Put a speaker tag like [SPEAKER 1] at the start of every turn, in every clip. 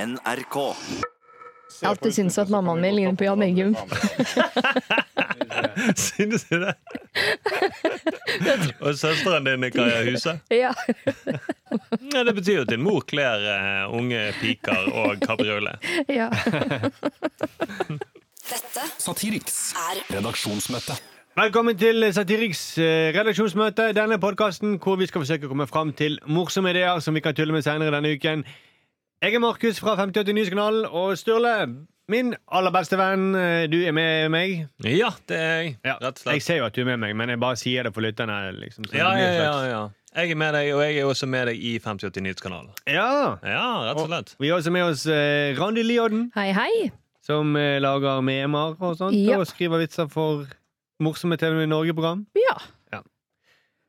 [SPEAKER 1] NRK.
[SPEAKER 2] Jeg har alltid syntes at mammaen min ligner på Jan Eggum.
[SPEAKER 3] Synes du det? Og søsteren din, Kaja Huse?
[SPEAKER 2] Ja.
[SPEAKER 3] Ja, det betyr jo at din mor kler eh, unge piker og kabriolet.
[SPEAKER 2] ja.
[SPEAKER 4] Dette
[SPEAKER 5] Satiriks
[SPEAKER 4] er
[SPEAKER 5] redaksjonsmøte.
[SPEAKER 6] Velkommen til Satiriks eh, redaksjonsmøte. Denne podkasten hvor vi skal forsøke å komme fram til morsomme ideer som vi kan tulle med senere denne uken. Jeg er Markus fra 5080 Nyhetskanalen, og Sturle, min aller beste venn, eh, du er med meg.
[SPEAKER 3] Ja, det er jeg.
[SPEAKER 6] Ja,
[SPEAKER 3] Rett og
[SPEAKER 6] jeg
[SPEAKER 3] slett.
[SPEAKER 6] ser jo at du er med meg, men jeg bare sier det for lytterne. Liksom, så det
[SPEAKER 3] Ja,
[SPEAKER 6] blir
[SPEAKER 3] ja,
[SPEAKER 6] en
[SPEAKER 3] ja,
[SPEAKER 6] slags-
[SPEAKER 3] ja. Jeg er med deg, og jeg er også med deg i 5080 Nyhetskanalen.
[SPEAKER 6] ja.
[SPEAKER 3] Ja, rett og slett.
[SPEAKER 6] Vi har også med oss eh, Randi Liodden,
[SPEAKER 2] Hei, hei.
[SPEAKER 6] som eh, lager memer og sånt,
[SPEAKER 2] Ja.
[SPEAKER 6] og skriver vitser for morsomme TV Norge-program.
[SPEAKER 2] Ja.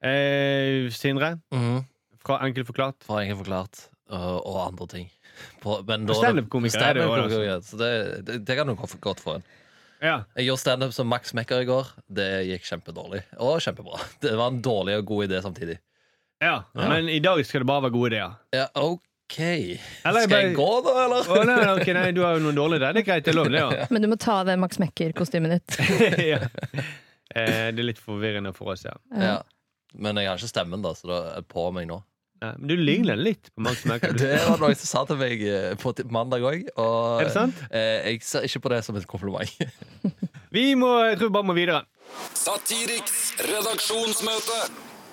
[SPEAKER 6] Eh, Sindre fra Enkelt forklart.
[SPEAKER 7] Har jeg ikke forklart. Og, og andre ting. På, men da-
[SPEAKER 6] Standup-komiker er det jo,
[SPEAKER 7] Standup-komiker, ja. Så det, det, det kan du gå for godt for en.
[SPEAKER 6] Ja.
[SPEAKER 7] Jeg gjorde standup som Max Mekker i går. Det gikk kjempedårlig. Og kjempebra. Det var en dårlig og god idé samtidig.
[SPEAKER 6] Ja, men i dag skal det bare være gode ideer.
[SPEAKER 7] Ja, OK.
[SPEAKER 6] Eller jeg
[SPEAKER 7] Skal jeg
[SPEAKER 6] bare-
[SPEAKER 7] gå, da, eller?
[SPEAKER 6] Å, nei, nei, ok, nei, du har jo noen dårlige der. Det er greit, det er lov, det. Ja.
[SPEAKER 2] Men du må ta av det Max Mekker-kostymet ditt.
[SPEAKER 6] ja. Eh, det er litt forvirrende for oss, ja.
[SPEAKER 7] Ja. Men jeg har ikke stemmen, da, så det er på meg nå.
[SPEAKER 6] Nei, Men du ligner litt på Max Merker. du.
[SPEAKER 7] Det var noe som sa til meg eh, på t- mandag òg. Og
[SPEAKER 6] Er det sant?
[SPEAKER 7] eh, jeg ser ikke på det som et kompliment.
[SPEAKER 6] Vi må, jeg tror vi bare må videre.
[SPEAKER 5] Satiriks redaksjonsmøte.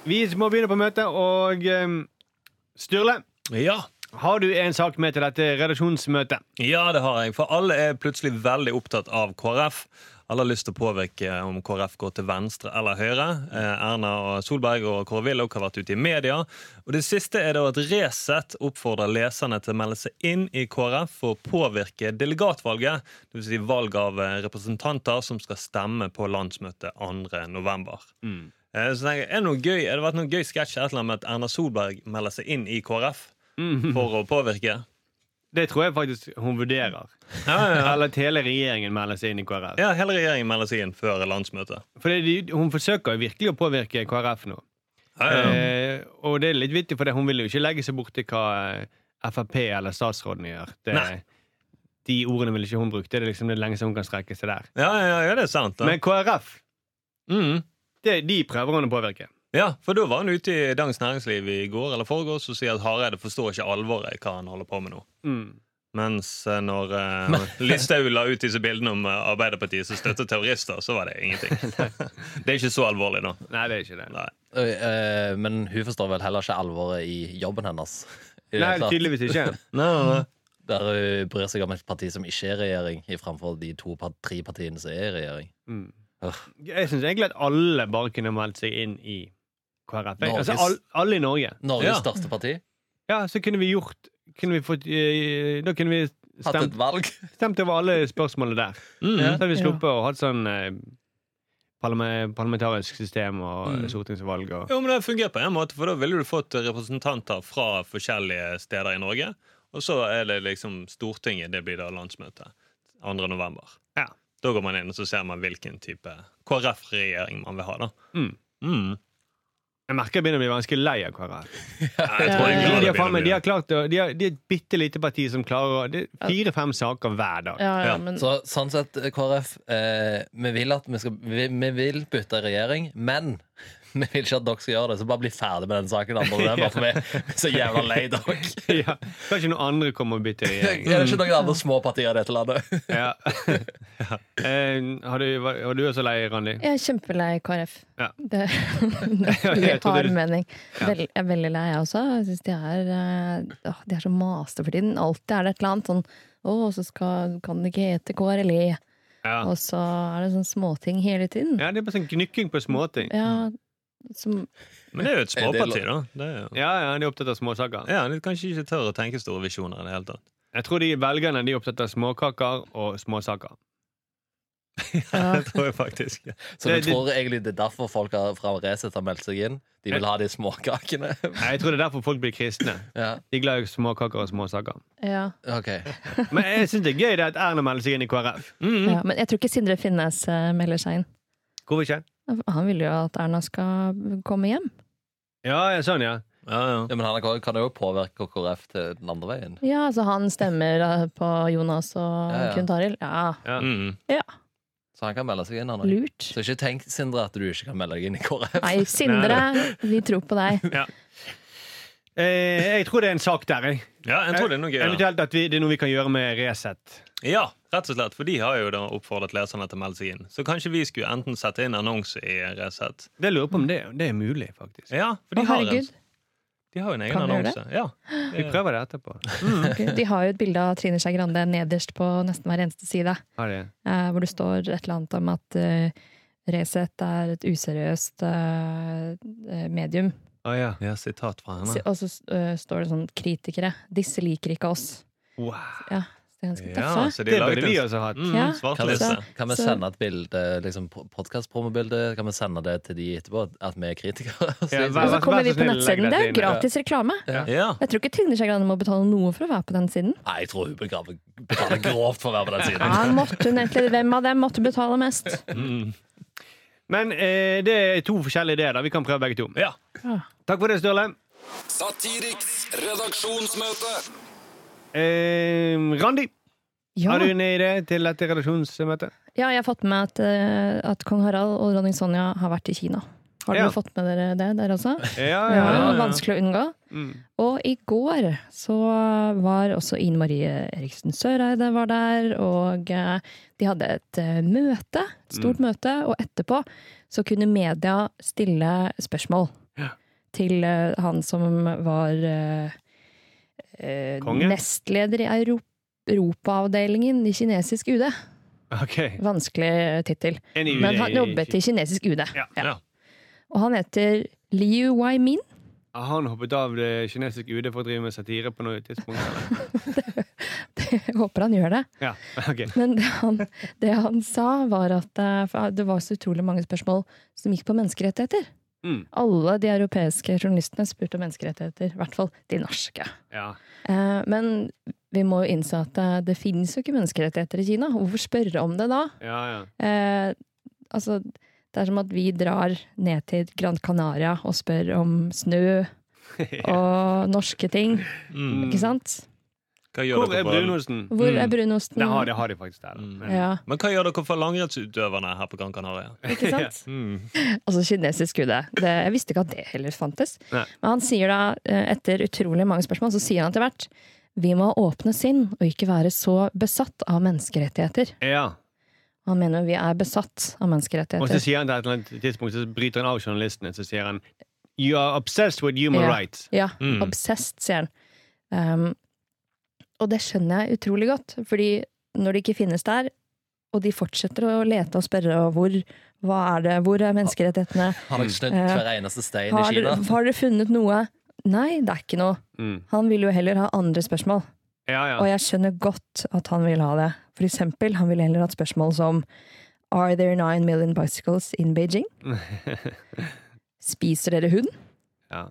[SPEAKER 6] Vi må begynne på møtet, og eh, Sturle,
[SPEAKER 3] Ja.
[SPEAKER 6] har du en sak med til dette redaksjonsmøtet?
[SPEAKER 3] ja, det har jeg. For alle er plutselig veldig opptatt av KrF. Alle har lyst til å påvirke om KrF går til venstre eller høyre. Eh, Erna og Solberg og Kåre Willoch har vært ute i media. Og det siste er da at Resett oppfordrer leserne til å melde seg inn i KrF for å påvirke delegatvalget, dvs. Si valg av eh, representanter som skal stemme på landsmøtet 2. november. Eh, Så tenker jeg, er det noe gøy, er det vært noen gøy sketsj et eller annet med at Erna Solberg melder seg inn i KrF for å påvirke?
[SPEAKER 6] Det tror jeg faktisk hun vurderer. Eller at hele regjeringen melder seg inn i KrF.
[SPEAKER 3] Ja, hele regjeringen melder seg inn før landsmøtet.
[SPEAKER 6] For det- hun forsøker jo virkelig å påvirke KrF nå.
[SPEAKER 3] Ja, ja.
[SPEAKER 6] Eh, og det er litt vittig, for det- hun vil jo ikke legge seg borti hva eh, Frp eller statsråden gjør.
[SPEAKER 3] Nei.
[SPEAKER 6] Det, de ordene ville ikke hun brukt. Det er liksom det lengste hun kan strekke seg der.
[SPEAKER 3] Ja, ja, ja, det er sant. Da.
[SPEAKER 6] Men KrF,
[SPEAKER 7] Mm.
[SPEAKER 3] Mhm.
[SPEAKER 6] det, de prøver hun å påvirke.
[SPEAKER 3] Ja, for da var han ute i Dagens Næringsliv i går eller foregårs og sier at Hareide forstår ikke alvoret i hva han holder på med nå.
[SPEAKER 6] Mm.
[SPEAKER 3] Mens eh, når eh, Listhaug la ut disse bildene om eh, Arbeiderpartiet som støtter terrorister, så var det ingenting. det er ikke så alvorlig nå.
[SPEAKER 6] Nei, det er ikke det.
[SPEAKER 3] Nei.
[SPEAKER 7] Øy, eh, Men hun forstår vel heller ikke alvoret i jobben hennes. I det
[SPEAKER 6] Nei,
[SPEAKER 7] hele tatt.
[SPEAKER 6] tydeligvis ikke.
[SPEAKER 7] Der hun bryr seg om et parti som ikke er i regjering, i framfor de to, par- tre partiene som er i regjering.
[SPEAKER 6] Mm.
[SPEAKER 7] Åh.
[SPEAKER 6] Jeg syns egentlig at alle bare kunne meldt seg inn i KrF. Jeg-
[SPEAKER 7] Norges-
[SPEAKER 6] Altså, all, alle i Norge.
[SPEAKER 7] Norges
[SPEAKER 3] Ja.
[SPEAKER 7] største parti.
[SPEAKER 6] Ja, så kunne vi gjort kunne vi fått, eh, Da kunne vi
[SPEAKER 7] Hatt
[SPEAKER 6] stemt,
[SPEAKER 7] et valg.
[SPEAKER 6] stemt over alle spørsmålene der.
[SPEAKER 3] Mm.
[SPEAKER 6] Så hadde vi
[SPEAKER 2] Ja.
[SPEAKER 6] sluppet å ha et sånn eh, parlame- parlamentarisk system og
[SPEAKER 7] Mm.
[SPEAKER 6] eh, stortingsvalg og
[SPEAKER 3] Jo, men Det fungerer på en måte, for da ville du fått representanter fra forskjellige steder i Norge. Og så er det liksom Stortinget, det blir da landsmøtet 2. november.
[SPEAKER 6] Ja.
[SPEAKER 3] Da går man inn og så ser man hvilken type KrF-regjering man vil ha. da.
[SPEAKER 6] Mm.
[SPEAKER 3] Mm.
[SPEAKER 6] Jeg merker jeg begynner å bli ganske lei av
[SPEAKER 3] Nei,
[SPEAKER 6] KrF.
[SPEAKER 3] jeg
[SPEAKER 2] Ja,
[SPEAKER 3] tror jeg
[SPEAKER 6] De,
[SPEAKER 2] ja,
[SPEAKER 6] Eh, de,
[SPEAKER 3] klarer
[SPEAKER 6] har
[SPEAKER 3] det
[SPEAKER 6] faen meg- de,
[SPEAKER 3] begynner å
[SPEAKER 6] har klart å, de, har, de er et bitte lite parti som klarer å Det er fire-fem saker hver dag.
[SPEAKER 2] Ja, ja,
[SPEAKER 3] Ja.
[SPEAKER 2] men
[SPEAKER 7] Så sånn sett, eh, KrF, eh, vi vil at vi skal vi, vi vil bytte regjering, men vi vil ikke at dere skal gjøre det, så bare bli ferdig med den saken. Andre, november, for vi er så jævla lei dere.
[SPEAKER 6] Ja. Kan ikke noen andre komme og bytte
[SPEAKER 7] Er
[SPEAKER 6] regjering?
[SPEAKER 7] det ikke noen andre små partier i dette landet?
[SPEAKER 6] Ja. Eh, har, du, var, var du også lei, Randi?
[SPEAKER 2] jeg er kjempelei KrF.
[SPEAKER 6] Ja.
[SPEAKER 2] Det
[SPEAKER 6] jeg
[SPEAKER 2] er
[SPEAKER 6] trodde
[SPEAKER 2] hard
[SPEAKER 6] du-
[SPEAKER 2] mening. Vel, jeg er veldig lei, jeg også. Jeg synes de er eh, åh, De er så maste for tiden. Alltid er det et eller annet sånn Å, så skal, kan det ikke hete KRLE.
[SPEAKER 6] Ja.
[SPEAKER 2] E.» Og så er det sånne småting hele tiden.
[SPEAKER 6] ja, det er bare sånn gnykking på småting.
[SPEAKER 2] Ja, som
[SPEAKER 3] begynne. Men det er jo et
[SPEAKER 7] Er det
[SPEAKER 3] småparti, da. Det er jo.
[SPEAKER 6] Ja, ja, de er opptatt av småsaker.
[SPEAKER 3] Ja, De kanskje ikke tør å tenke store visjoner i det hele tatt.
[SPEAKER 6] Jeg tror de velgerne de er opptatt av småkaker og småsaker.
[SPEAKER 2] ja.
[SPEAKER 3] Det tror jeg faktisk.
[SPEAKER 7] Så
[SPEAKER 6] Det-
[SPEAKER 7] du
[SPEAKER 6] det-
[SPEAKER 7] tror egentlig det er derfor folk har- fra Resett har meldt seg inn? De vil ha de småkakene?
[SPEAKER 6] Nei, Jeg tror det er derfor folk blir kristne.
[SPEAKER 7] Ja,
[SPEAKER 6] De er glad i småkaker og småsaker.
[SPEAKER 2] ja.
[SPEAKER 7] ok
[SPEAKER 6] Men jeg syns det er gøy det at Erna melder seg inn i KrF.
[SPEAKER 2] Ja, men jeg tror ikke Sindre Finnes eh, melder seg inn.
[SPEAKER 6] Mm. Hvorfor ikke?
[SPEAKER 2] Han vil jo at Erna skal komme hjem.
[SPEAKER 6] Ja, ja, sånn, ja.
[SPEAKER 3] Ja, ja.
[SPEAKER 7] Ja, men han kan- kan jo påvirke KrF til den andre veien.
[SPEAKER 2] Ja, så han stemmer eh, på Jonas og
[SPEAKER 7] Ja, ja.
[SPEAKER 2] Knut Arild? Ja.
[SPEAKER 3] Mm.
[SPEAKER 2] ja.
[SPEAKER 7] Så han kan melde seg inn. Han, også.
[SPEAKER 2] Lurt.
[SPEAKER 7] så ikke tenk, Sindre, at du ikke kan melde deg inn i KrF.
[SPEAKER 2] Nei, Sindre, vi tror på deg.
[SPEAKER 6] Eh, jeg tror det er en sak der. Jeg.
[SPEAKER 3] ja, jeg tror det er noe gøy. da.
[SPEAKER 6] Eventuelt at vi, det er noe vi kan gjøre med Resett.
[SPEAKER 3] Ja, rett og slett, for de har jo da oppfordret leserne til å melde seg inn. Så kanskje vi skulle enten sette inn annonse i Resett.
[SPEAKER 6] Det lurer jeg på om det, det er mulig, faktisk.
[SPEAKER 3] Ja,
[SPEAKER 2] Å,
[SPEAKER 3] for de har, en,
[SPEAKER 2] herregud.
[SPEAKER 3] de har jo en egen
[SPEAKER 2] Kan vi gjøre det?
[SPEAKER 3] annonse. Ja.
[SPEAKER 6] Vi prøver det etterpå.
[SPEAKER 2] Gud, De har jo et bilde av Trine Skei Grande nederst på nesten hver eneste side,
[SPEAKER 6] Ha det.
[SPEAKER 2] eh, hvor det står et eller annet om at eh, Resett er et useriøst eh, medium.
[SPEAKER 6] Å, ja.
[SPEAKER 3] ja, sitat fra
[SPEAKER 2] Si-
[SPEAKER 3] henne.
[SPEAKER 2] Og så eh, står det sånn 'kritikere'. Disse liker ikke oss.
[SPEAKER 6] wow.
[SPEAKER 2] Ja, så det er ganske
[SPEAKER 3] Ja,
[SPEAKER 2] tøffe.
[SPEAKER 3] så de
[SPEAKER 6] Det burde
[SPEAKER 3] laget
[SPEAKER 6] vi
[SPEAKER 3] en
[SPEAKER 6] også hatt.
[SPEAKER 3] mm,
[SPEAKER 2] Ja.
[SPEAKER 7] Kan vi,
[SPEAKER 3] svartliste.
[SPEAKER 2] Altså-
[SPEAKER 7] kan vi
[SPEAKER 2] Så-
[SPEAKER 7] sende et bilde, liksom podkast-promobilde, kan vi sende det til de etterpå? At vi er kritikere? Så-
[SPEAKER 6] Ja,
[SPEAKER 2] Og
[SPEAKER 6] vær-
[SPEAKER 2] så kommer vi
[SPEAKER 6] vær så
[SPEAKER 2] på nettsiden.
[SPEAKER 6] snill, legg
[SPEAKER 2] Det er
[SPEAKER 6] dette
[SPEAKER 2] jo
[SPEAKER 6] inn, ja.
[SPEAKER 2] gratis reklame.
[SPEAKER 3] Ja.
[SPEAKER 2] Jeg tror ikke Trine Skei Grande må betale noe for å være på den siden.
[SPEAKER 7] sånn, Nei, jeg tror hun begraver- betaler grovt for å være på den siden.
[SPEAKER 2] Ja, måtte hun egentlig, Hvem av dem måtte betale mest?
[SPEAKER 6] Men eh, det er to forskjellige ideer. da Vi kan prøve begge to.
[SPEAKER 3] ja.
[SPEAKER 6] Takk for det, Sturle.
[SPEAKER 5] Satiriks redaksjonsmøte.
[SPEAKER 6] Eh, Randi,
[SPEAKER 2] Ja,
[SPEAKER 6] har du en idé til dette redaksjonsmøtet?
[SPEAKER 2] ja jeg har fått med at, eh, at kong Harald og dronning Sonja har vært i Kina. Har dere
[SPEAKER 6] Ja.
[SPEAKER 2] fått med dere det, dere også?
[SPEAKER 6] Ja,
[SPEAKER 2] Ja, Vanskelig å unngå.
[SPEAKER 6] Mm.
[SPEAKER 2] Og i går så var også Ine Marie Eriksen Søreide var der, og eh, de hadde et eh, møte, et stort møte, og etterpå så kunne media stille spørsmål til eh, han som var eh, eh,
[SPEAKER 6] Konge?
[SPEAKER 2] nestleder i Euro- Europaavdelingen i kinesisk UD.
[SPEAKER 6] Ok.
[SPEAKER 2] Vanskelig eh, tittel.
[SPEAKER 6] En idé.
[SPEAKER 2] Men han jobbet i kinesisk UD.
[SPEAKER 6] Ja.
[SPEAKER 3] Ja.
[SPEAKER 2] Og han heter Liu Waimin.
[SPEAKER 6] Han hoppet av det kinesiske UD for å drive med satire på noe tidspunkt? eller?
[SPEAKER 2] Jeg håper han gjør det.
[SPEAKER 6] Ja, ok.
[SPEAKER 2] Men det han, det han sa, var at eh, for det var så utrolig mange spørsmål som gikk på menneskerettigheter.
[SPEAKER 6] Mm.
[SPEAKER 2] Alle de europeiske journalistene spurte om menneskerettigheter. I hvert fall de norske.
[SPEAKER 6] Ja.
[SPEAKER 2] Eh, Men vi må jo innse at eh, det finnes jo ikke menneskerettigheter i Kina. Hvorfor spørre om det da?
[SPEAKER 6] Ja, ja.
[SPEAKER 2] Eh, altså, det er som at vi drar ned til Gran Canaria og spør om snø og norske ting.
[SPEAKER 3] Mm.
[SPEAKER 2] Ikke sant?
[SPEAKER 3] Hva gjør
[SPEAKER 6] Hvor
[SPEAKER 3] dere
[SPEAKER 6] er
[SPEAKER 3] på-
[SPEAKER 6] brunosten?
[SPEAKER 2] Hvor er
[SPEAKER 3] Mm.
[SPEAKER 2] brunosten?
[SPEAKER 6] Det har, det har de faktisk der. da.
[SPEAKER 3] Mm.
[SPEAKER 6] Men-
[SPEAKER 2] Ja,
[SPEAKER 3] Men hva gjør dere for langrennsutøverne her på Gran Canaria?
[SPEAKER 2] ikke sant?
[SPEAKER 3] Mm.
[SPEAKER 2] Altså kinesisk UD. Det, jeg visste ikke at det heller fantes.
[SPEAKER 6] Nei.
[SPEAKER 2] Men han sier da, eh, etter utrolig mange spørsmål, så sier han etter hvert vi må ha åpne sinn og ikke være så besatt av menneskerettigheter.
[SPEAKER 6] Ja.
[SPEAKER 2] Han mener vi er besatt av
[SPEAKER 6] Og så
[SPEAKER 2] menneskerettigheter.
[SPEAKER 6] sier han til et eller annet tidspunkt, så bryter han av journalistene, så sier han You are obsessed with human
[SPEAKER 2] Ja.
[SPEAKER 6] rights.
[SPEAKER 2] Ja,
[SPEAKER 3] Mm.
[SPEAKER 2] obsessed, sier han. Ehm, og det skjønner jeg utrolig godt, fordi når det ikke finnes der, og de fortsetter å lete og spørre og hvor, hva er det, hvor er menneskerettighetene,
[SPEAKER 7] Har dere snudd
[SPEAKER 2] Eh,
[SPEAKER 7] hver eneste stein i
[SPEAKER 2] har,
[SPEAKER 7] Kina?
[SPEAKER 2] har dere funnet noe? Nei, det er ikke noe.
[SPEAKER 6] Mm.
[SPEAKER 2] Han vil jo heller ha andre spørsmål.
[SPEAKER 6] Ja, ja.
[SPEAKER 2] Og jeg skjønner godt at han vil ha det. For eksempel, han vil heller ha et spørsmål som Are there nine million bicycles in Beijing? Spiser dere hund?
[SPEAKER 6] Ja.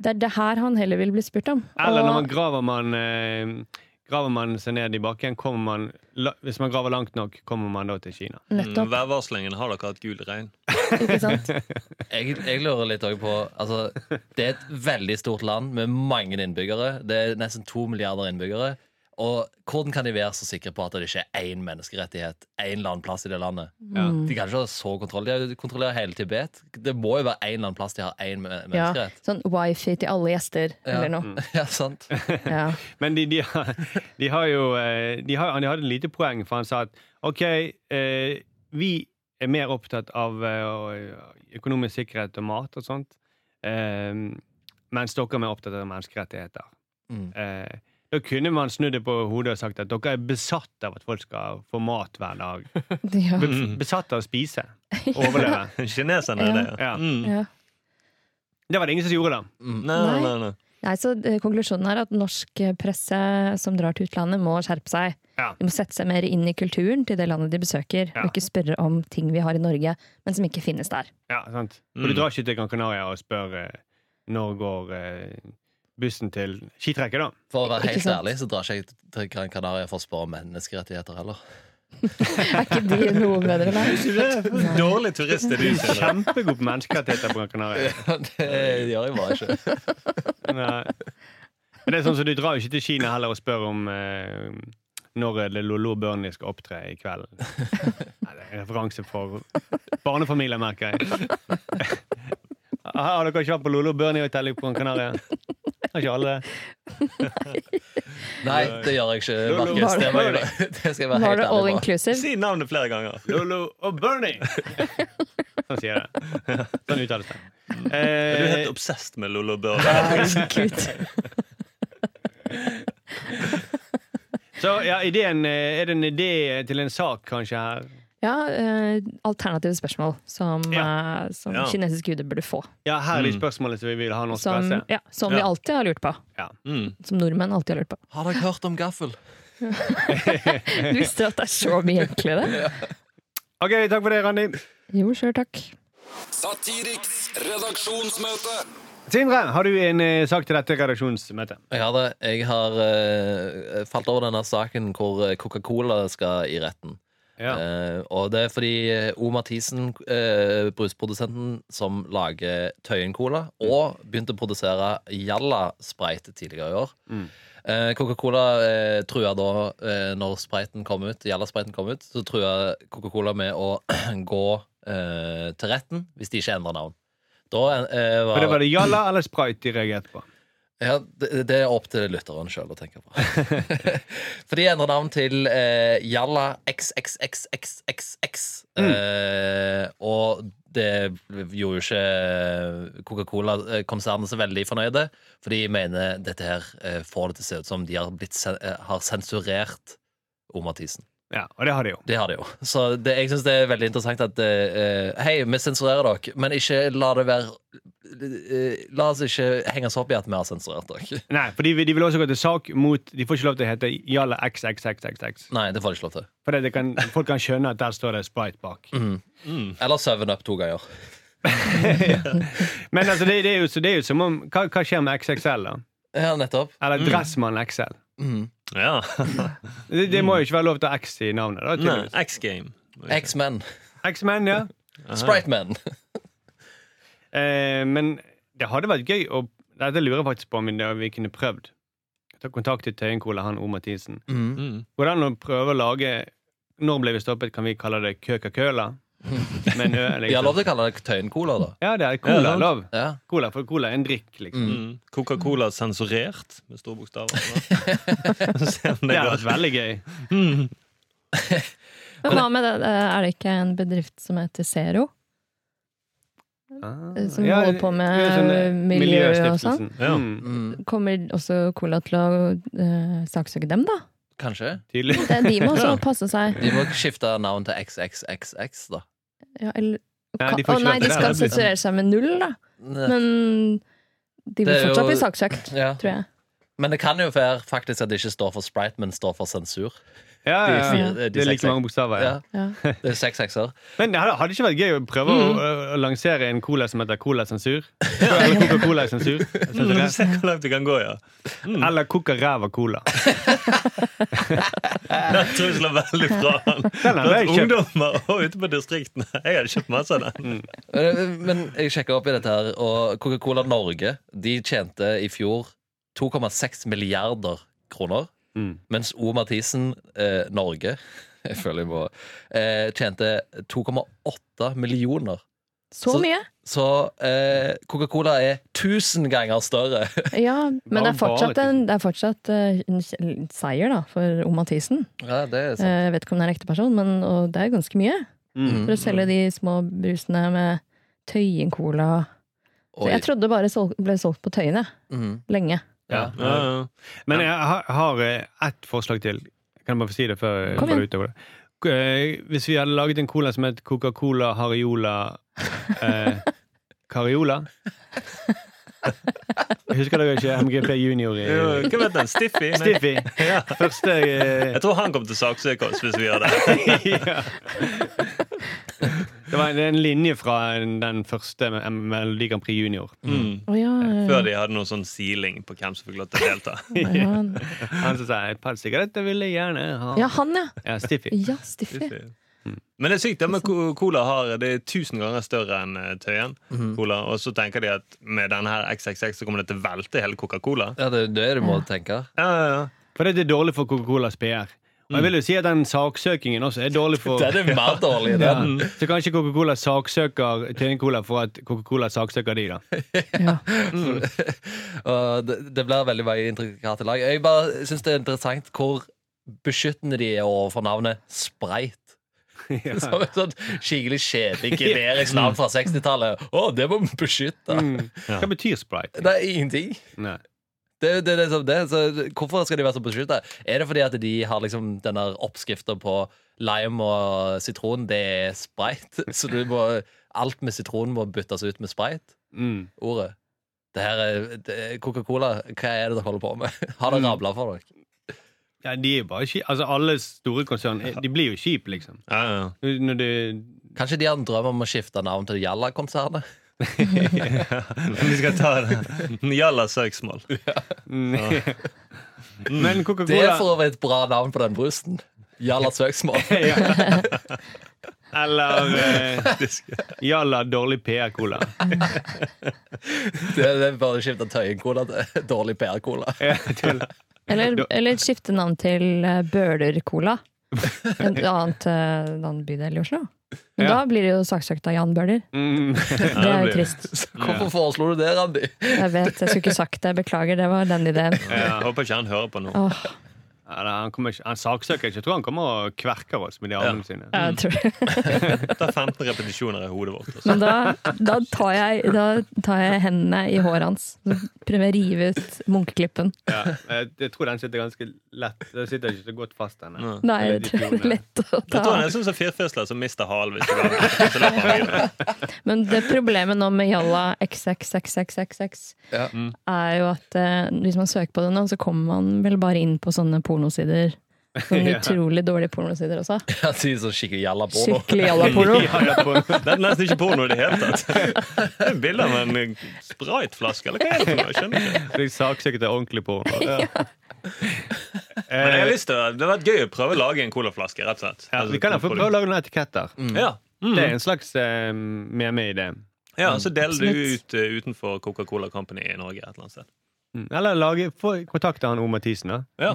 [SPEAKER 2] Det er det her han heller vil bli spurt om.
[SPEAKER 6] Eller når man
[SPEAKER 2] Og,
[SPEAKER 6] graver man eh, Graver man seg ned i bakken, kommer man la, Hvis man graver langt nok, kommer man da til Kina.
[SPEAKER 3] Mm.
[SPEAKER 2] nettopp,
[SPEAKER 3] Værvarslingen har dere hatt gul regn.
[SPEAKER 2] ikke sant?
[SPEAKER 7] Jeg, jeg lurer litt også på altså, Det er et veldig stort land med mange innbyggere. Det er nesten to milliarder innbyggere. Og hvordan kan de være så sikre på at det ikke er én menneskerettighet én eller annen plass i det landet?
[SPEAKER 2] Mm.
[SPEAKER 7] De kan ikke ha så kontroll. De kontrollerer hele Tibet. Det må jo være en eller annen plass de har én me-
[SPEAKER 2] Ja,
[SPEAKER 7] menneskerett.
[SPEAKER 2] sånn wifi til alle gjester,
[SPEAKER 7] Ja.
[SPEAKER 2] eller
[SPEAKER 6] Mm.
[SPEAKER 2] noe.
[SPEAKER 7] Ja. sant?
[SPEAKER 2] Ja.
[SPEAKER 6] Men de, de, har- de har jo eh, de har, Han hadde et lite poeng, for han sa at OK, eh, vi er mer opptatt av eh, å- økonomisk sikkerhet og mat og sånt, eh, mens dere er mer opptatt av menneskerettigheter.
[SPEAKER 7] Mm.
[SPEAKER 6] Eh, da kunne man snudd det på hodet og sagt at dere er besatt av at folk skal få mat hver dag.
[SPEAKER 2] Ja.
[SPEAKER 6] Be besatt av å spise. Og overleve.
[SPEAKER 3] Kineserne er det,
[SPEAKER 6] Ja.
[SPEAKER 3] Mm.
[SPEAKER 2] Ja.
[SPEAKER 6] Det var det ingen som gjorde, da.
[SPEAKER 3] Nei, nei, nei, nei.
[SPEAKER 2] Nei, så eh, Konklusjonen er at norsk eh, presse som drar til utlandet, må skjerpe seg.
[SPEAKER 6] Ja.
[SPEAKER 2] De må sette seg mer inn i kulturen til det landet de besøker,
[SPEAKER 6] Ja.
[SPEAKER 2] og ikke spørre om ting vi har i Norge, men som ikke finnes der.
[SPEAKER 6] Ja, sant? For du
[SPEAKER 3] Mm.
[SPEAKER 6] drar ikke til Gran Canaria og spør eh, når går eh, bussen til skitrekket, da.
[SPEAKER 7] For å være
[SPEAKER 2] Ikke
[SPEAKER 7] helt
[SPEAKER 2] sant?
[SPEAKER 7] ærlig så drar ikke jeg til Gran Canaria for å spørre om menneskerettigheter heller.
[SPEAKER 2] Er ikke de noe bedre, nei?
[SPEAKER 3] Dårlig turist er du, Sindre.
[SPEAKER 6] Kjempegod på menneskerettigheter på Gran Canaria.
[SPEAKER 7] det gjør jeg bare ikke.
[SPEAKER 6] Nei. Men det er sånn som du drar jo ikke til Kina heller og spør om eh, når er det Lolo Burnley skal opptre i kveld. Nei, det er en referanse for barnefamilier, merker jeg. Har dere ikke vært på Lolo Burnley-hotellet på Gran Canaria? Har ikke alle det?
[SPEAKER 7] Nei, det gjør jeg ikke,
[SPEAKER 2] Var
[SPEAKER 7] Markus.
[SPEAKER 2] det-
[SPEAKER 7] Det, må jeg gjøre. det skal jeg være
[SPEAKER 2] Var
[SPEAKER 7] helt
[SPEAKER 2] det all
[SPEAKER 7] ærlig på.
[SPEAKER 2] inclusive?
[SPEAKER 3] Si navnet flere ganger.
[SPEAKER 6] Lolo og Bernie! Sånn sier jeg det. Sånn uttales det.
[SPEAKER 3] Du er
[SPEAKER 6] Eh,
[SPEAKER 3] helt obsesst med Lollo Børre.
[SPEAKER 2] Så kult.
[SPEAKER 6] så ja, ideen, eh, er det en idé til en sak, kanskje, her?
[SPEAKER 2] Ja, eh, alternative spørsmål som,
[SPEAKER 6] Ja.
[SPEAKER 2] eh, som
[SPEAKER 3] Ja.
[SPEAKER 2] kinesiske guder burde få.
[SPEAKER 6] Ja, her er
[SPEAKER 3] Mm.
[SPEAKER 6] de spørsmålene som vi vil ha norsk
[SPEAKER 2] Som,
[SPEAKER 6] presse.
[SPEAKER 2] Sånn, ja, som vi
[SPEAKER 3] Ja.
[SPEAKER 2] alltid har lurt på.
[SPEAKER 6] Ja.
[SPEAKER 3] Mm.
[SPEAKER 2] Som nordmenn alltid har lurt på.
[SPEAKER 7] Har dere hørt om gaffel?
[SPEAKER 2] Du visste at det er så mye enklere?
[SPEAKER 6] OK, takk for det, Randi.
[SPEAKER 2] Jo, sjøl takk.
[SPEAKER 5] Satiriks redaksjonsmøte.
[SPEAKER 6] Sindre, har du en eh, sak til dette redaksjonsmøtet?
[SPEAKER 7] Jeg har det. Jeg har eh, falt over denne saken hvor eh, Coca-Cola skal i retten. Eh, og det er fordi eh, O. Mathisen, eh, brusprodusenten som lager Tøyen Cola,
[SPEAKER 6] Mm.
[SPEAKER 7] og begynte å produsere Jalla Sprite tidligere i år.
[SPEAKER 6] Mm.
[SPEAKER 7] Eh, Coca-Cola eh, trua da, eh, når spriten kom ut, Jalla Spriten kom ut, så trua Coca-Cola med å gå eh, til retten hvis de ikke endrer navn. Da eh,
[SPEAKER 6] For det
[SPEAKER 7] var
[SPEAKER 6] var det Jalla eller Sprite de reagerte på?
[SPEAKER 7] ja, det, det er opp til lytteren sjøl å tenke på. For de endrer navn til eh, Jalla XXXXXX. Eh, og det gjorde jo ikke Coca-Cola-konsernet så veldig fornøyde. For de mener dette her eh, får det til å se ut som de har, blitt, sen- eh, har sensurert O. Mathisen.
[SPEAKER 6] Ja, og det har de jo.
[SPEAKER 7] Det har de jo. Så det, jeg syns det er veldig interessant at eh, Hei, vi sensurerer dere, men ikke la det være eh, La oss ikke henge oss opp i at vi har sensurert dere.
[SPEAKER 6] Nei, for de, vil- de vil også gå til sak mot De får ikke lov til å hete Jalla XXXXX.
[SPEAKER 7] Nei, det får de ikke lov til.
[SPEAKER 6] For det, det kan, folk kan skjønne at der står det Sprite bak.
[SPEAKER 7] Eller Seven Up to ganger.
[SPEAKER 6] Men altså, det, det, er jo, så det er jo som om Hva, hva skjer med XXL, da?
[SPEAKER 7] Ja, nettopp. Mm.
[SPEAKER 6] Eller Dressmann XL?
[SPEAKER 3] Ja.
[SPEAKER 6] Det, det må jo ikke være lov til å ha X i navnet. da,
[SPEAKER 3] Nei,
[SPEAKER 6] tydeligvis.
[SPEAKER 3] X-Game.
[SPEAKER 7] X-Men.
[SPEAKER 6] X-Men, ja.
[SPEAKER 7] Sprite-Men.
[SPEAKER 6] Eh, men det hadde vært gøy å Dette lurer jeg faktisk på om vi- vi kunne prøvd. Ta kontakt til Tøyen Cola, han O. Mathisen.
[SPEAKER 3] Mm.
[SPEAKER 6] Hvordan å prøve å lage Når ble vi stoppet? Kan vi kalle det Coca-Cola? Med en ø,
[SPEAKER 7] Vi har lov
[SPEAKER 6] liksom.
[SPEAKER 7] til å kalle det Tøyen-Cola, da.
[SPEAKER 6] Ja, det er
[SPEAKER 3] Ja,
[SPEAKER 6] cola.
[SPEAKER 3] sant.
[SPEAKER 6] Lov.
[SPEAKER 7] Ja.
[SPEAKER 6] Cola, for cola er en drikk, liksom.
[SPEAKER 3] Mm. Coca-Cola sensurert med store bokstaver. Se om
[SPEAKER 6] Det
[SPEAKER 3] Mm, det går.
[SPEAKER 6] hadde
[SPEAKER 3] Mm.
[SPEAKER 6] vært veldig gøy.
[SPEAKER 2] Men hva med det? Er det ikke en bedrift som heter Zero?
[SPEAKER 6] Ah,
[SPEAKER 2] Som
[SPEAKER 6] ja,
[SPEAKER 2] holder på med
[SPEAKER 6] det er sånn, eh,
[SPEAKER 2] miljø og sånn?
[SPEAKER 6] Miljøstiftelsen.
[SPEAKER 3] Ja.
[SPEAKER 6] Mm,
[SPEAKER 7] Mm,
[SPEAKER 2] Kommer også Cola til å eh, saksøke dem, da?
[SPEAKER 7] kanskje.
[SPEAKER 6] tydelig.
[SPEAKER 2] Det er de må også passe seg.
[SPEAKER 7] De må skifte navn til XXXX, da.
[SPEAKER 2] Ja, eller,
[SPEAKER 6] Nei, de
[SPEAKER 2] Å
[SPEAKER 6] får ikke
[SPEAKER 2] nei,
[SPEAKER 6] lov
[SPEAKER 2] de
[SPEAKER 6] til
[SPEAKER 2] skal
[SPEAKER 6] det.
[SPEAKER 2] sensurere seg med null, da. Men de
[SPEAKER 7] Det
[SPEAKER 2] vil
[SPEAKER 7] er jo-
[SPEAKER 2] fortsatt bli saksøkt,
[SPEAKER 7] Ja.
[SPEAKER 2] tror jeg.
[SPEAKER 7] Men det kan jo være faktisk at det ikke står for Sprite, men står for sensur.
[SPEAKER 6] Ja, ja,
[SPEAKER 7] De fire-
[SPEAKER 6] ja.
[SPEAKER 7] de
[SPEAKER 6] Det er like
[SPEAKER 7] seks-
[SPEAKER 6] mange bokstaver. Ja.
[SPEAKER 7] Ja,
[SPEAKER 2] Ja.
[SPEAKER 7] det er seks sekser.
[SPEAKER 6] Men det hadde, hadde ikke vært gøy å prøve å, ø, å lansere en cola som heter Cola sensur? Eller Coca-Cola sensur?
[SPEAKER 3] Mm,
[SPEAKER 6] Sensurert.
[SPEAKER 3] Se hvor langt du kan gå, ja.
[SPEAKER 6] Eller Coca-ræva-cola.
[SPEAKER 3] Den tror jeg slår veldig fra han.
[SPEAKER 6] Den hadde
[SPEAKER 3] Blant
[SPEAKER 6] jeg kjøpt.
[SPEAKER 3] ungdommer og ute på distriktene. Jeg hadde kjøpt masse av den.
[SPEAKER 7] Men Eh, men jeg sjekka opp i dette her, og Coca-Cola Norge De tjente i fjor 2,6 milliarder kroner.
[SPEAKER 6] Mm.
[SPEAKER 7] Mens O. Mathisen eh, Norge jeg føler jeg må, eh, tjente 2,8 millioner.
[SPEAKER 2] Så
[SPEAKER 7] Så-
[SPEAKER 2] mye?
[SPEAKER 7] Så eh, Coca-Cola er 1000 ganger større.
[SPEAKER 2] Ja, men det er
[SPEAKER 6] Bare-
[SPEAKER 2] fortsatt
[SPEAKER 6] bare
[SPEAKER 2] en, det er fortsatt eh, en kj- seier, da, for O. Mathisen.
[SPEAKER 7] Ja, det er
[SPEAKER 2] Eh, Jeg vet ikke om det er en ekte person, men og det er ganske mye.
[SPEAKER 6] Mm.
[SPEAKER 2] For å selge de små brusene med Tøyen-cola. Eh, Så
[SPEAKER 7] Oi.
[SPEAKER 2] Jeg trodde det bare sol- ble solgt på Tøyen, jeg.
[SPEAKER 7] Mhm.
[SPEAKER 2] Lenge.
[SPEAKER 6] Ja.
[SPEAKER 3] Ja, ja.
[SPEAKER 6] Men jeg har, har eh, ett forslag til. Kan jeg bare få si det før jeg
[SPEAKER 2] Kom
[SPEAKER 6] går
[SPEAKER 2] igjen.
[SPEAKER 6] utover det? K- eh, Hvis vi hadde laget en cola som het Coca-Cola Hariola eh, Cariola Husker dere ikke MGP Junior i
[SPEAKER 3] Jo, Hva vet den? Stiffy? Nei.
[SPEAKER 6] Stiffy? Første eh,
[SPEAKER 3] Jeg tror han kommer til å saksøke oss hvis vi gjør det.
[SPEAKER 6] ja. Det var en, det er en linje fra den første M- Melodi Grand Prix Junior.
[SPEAKER 2] Å ja,
[SPEAKER 3] Før de hadde noe sånn siling på hvem som fikk lov til å delta.
[SPEAKER 2] ja, han.
[SPEAKER 6] Han som sa 'et par sigaretter ville jeg gjerne ha'.
[SPEAKER 2] ja, han, ja.
[SPEAKER 6] Ja, Stiffy.
[SPEAKER 2] Ja, Stiffy.
[SPEAKER 3] Men det er sykt, det med ko- cola har Det er tusen ganger større enn eh, Tøyen. Cola. Og så tenker de at med denne her XXX så kommer det til å velte hele Coca-Cola.
[SPEAKER 7] Ja, det, det er det du må tenke.
[SPEAKER 3] Ja, ja, ja.
[SPEAKER 6] For det er dårlig for Coca-Colas PR. Og jeg vil jo si at den saksøkingen også er dårlig for
[SPEAKER 7] Den er mer dårlig,
[SPEAKER 6] ja.
[SPEAKER 7] den.
[SPEAKER 6] Så kanskje Coca-Cola saksøker Tøyen Cola for at Coca-Cola saksøker de, da.
[SPEAKER 2] Ja.
[SPEAKER 7] Og det, det blir veldig mange intrikate lag. Jeg bare syns det er interessant hvor beskyttende de er overfor navnet Spreit. Som et sånt skikkelig kjedelig generisk navn fra 60-tallet. Å, det må vi beskytte!
[SPEAKER 6] Hva betyr Sprite?
[SPEAKER 7] Det er ingenting.
[SPEAKER 6] Nei.
[SPEAKER 7] Det, det, det, er som det, så hvorfor skal de være så beskytta? Er det fordi at de har liksom denne oppskrifta på lime og sitron? Det er spreit. Så du må, alt med sitron må byttes ut med spreit?
[SPEAKER 6] Mm.
[SPEAKER 7] ordet. Det her er det er Coca-Cola. Hva er det dere holder på med? Har det rabla for dere?
[SPEAKER 6] Ja, de er bare skip. Altså, alle store konsern er- De blir jo kjip, liksom.
[SPEAKER 3] ja, ja, ja.
[SPEAKER 6] Når når de
[SPEAKER 7] Kanskje de har en drøm om å skifte navn til Jalla-konsernet?
[SPEAKER 3] Vi skal ta det. Jalla søksmål.
[SPEAKER 6] Men
[SPEAKER 7] Det er
[SPEAKER 6] Coca-Cola
[SPEAKER 7] for øvrig et bra navn på den brusen. Jalla søksmål.
[SPEAKER 6] Eller eh, Jalla dårlig PR-cola.
[SPEAKER 7] Det, det burde skifte Tøyen-cola til dårlig PR-cola.
[SPEAKER 6] Ja, tull.
[SPEAKER 2] Eller, eller skifte navn til eh, Bøhler-cola. En annen, annen bydel eh, i Oslo. Men
[SPEAKER 6] Ja.
[SPEAKER 2] da blir det jo saksøkt av Jan Bøhler.
[SPEAKER 6] Mm.
[SPEAKER 2] Det er
[SPEAKER 3] blir
[SPEAKER 2] jo
[SPEAKER 3] det.
[SPEAKER 2] trist.
[SPEAKER 7] Hvorfor foreslo du det, Randi?
[SPEAKER 2] Jeg vet, jeg skulle ikke sagt det. Beklager, det var den ideen.
[SPEAKER 3] Ja, jeg håper ikke han hører på nå.
[SPEAKER 2] Åh,
[SPEAKER 6] Ja, da, han, kommer ikke, han saksøker ikke. Jeg tror han kommer og kverker oss med de armene sine.
[SPEAKER 2] jeg tror det.
[SPEAKER 3] Ta 15 repetisjoner i hodet vårt. Altså.
[SPEAKER 2] Men da, da, tar jeg, da tar jeg hendene i håret hans. Så Prøver jeg å rive ut munkeklippen.
[SPEAKER 6] Ja, jeg, jeg tror den sitter ganske lett. Den sitter ikke så godt fast, denne.
[SPEAKER 3] Ja.
[SPEAKER 2] Nei,
[SPEAKER 6] Eller
[SPEAKER 2] jeg
[SPEAKER 6] de
[SPEAKER 2] tror det er
[SPEAKER 6] klorene.
[SPEAKER 2] lett å
[SPEAKER 3] Jeg
[SPEAKER 2] ta
[SPEAKER 3] tror han
[SPEAKER 2] av.
[SPEAKER 3] er sånn som firfisler som mister halen hvis de går- så løper han videre.
[SPEAKER 2] Men det problemet nå med Jalla XXXXXX
[SPEAKER 7] Ja.
[SPEAKER 2] er jo at eh, hvis man søker på det nå, så kommer man vel bare inn på sånne pornosider. Sånne
[SPEAKER 6] Ja.
[SPEAKER 2] utrolig dårlige pornosider også.
[SPEAKER 7] Ja, de er så skikkelig jalla-porno.
[SPEAKER 2] Skikkelig jalla-porno.
[SPEAKER 6] Ja, ja, på-
[SPEAKER 3] Det er nesten ikke porno i det hele tatt. Det er bilde av en spriteflaske, eller hva er det for noe? Jeg skjønner ikke.
[SPEAKER 6] Jeg saksøker til ordentlig porno.
[SPEAKER 3] Men
[SPEAKER 6] Ja.
[SPEAKER 3] jeg har
[SPEAKER 6] Eh,
[SPEAKER 3] lyst til, å- det hadde vært gøy å prøve å lage en colaflaske, rett og slett.
[SPEAKER 6] ja,
[SPEAKER 3] Altså,
[SPEAKER 6] vi kan da få prøve å lage noen etiketter.
[SPEAKER 3] Ja.
[SPEAKER 6] Det
[SPEAKER 3] Mm.
[SPEAKER 6] er en slags eh, meme-idé.
[SPEAKER 3] ja,
[SPEAKER 6] Mm.
[SPEAKER 3] så deler du
[SPEAKER 2] Absolutt.
[SPEAKER 3] ut eh, utenfor Coca-Cola Company i Norge et eller annet sted.
[SPEAKER 6] Mm. Eller lage, få kontakt av han O. Mathisen. da.
[SPEAKER 3] Ja.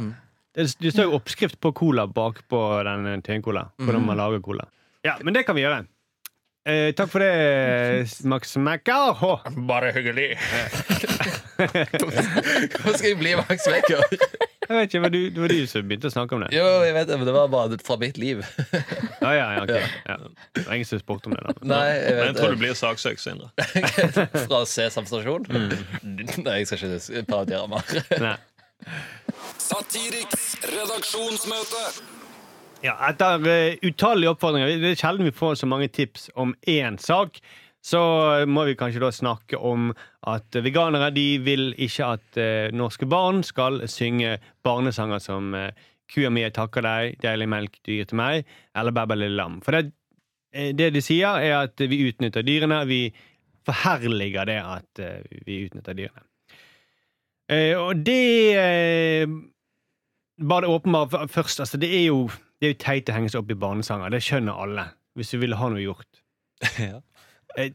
[SPEAKER 6] Det, det står jo oppskrift på cola bakpå den eh, Tøyen-cola. Hvordan man lager cola. Ja, men det kan vi gjøre. Eh, takk for det, Max Macaho.
[SPEAKER 7] Bare hyggelig. Hvorfor skal jeg bli Max Wecker?
[SPEAKER 6] Jeg vet ikke, var du, det var du som begynte å snakke om det?
[SPEAKER 7] Jo, jeg vet det, men det var bare fra mitt liv.
[SPEAKER 6] Ja, ja, ja, ok. ja. Det var ingen som spurte om det. da
[SPEAKER 7] Nei,
[SPEAKER 3] Men
[SPEAKER 7] jeg
[SPEAKER 3] jeg
[SPEAKER 7] vet
[SPEAKER 3] tror du blir saksøkt, Sindre.
[SPEAKER 7] Fra Sesam stasjon? Nei, jeg skal ikke parodiere mer.
[SPEAKER 6] Nei.
[SPEAKER 5] Satiriks redaksjonsmøte.
[SPEAKER 6] Ja, etter eh, utallige oppfordringer Det er sjelden vi får så mange tips om én sak. Så eh, må vi kanskje da snakke om at veganere de vil ikke at eh, norske barn skal synge barnesanger som eh, 'Kua mi, jeg takker deg', 'Deilig melk du gir til meg' eller 'Bæbæ lille lam'. For det, eh, det de sier, er at vi utnytter dyrene. Vi forherliger det at eh, vi utnytter dyrene. Eh, og det eh, bare det åpenbare f- først. Altså, det er jo det er jo teit å henge seg opp i barnesanger. Det skjønner alle, hvis du vil ha noe gjort.
[SPEAKER 3] Ja.
[SPEAKER 6] Eh,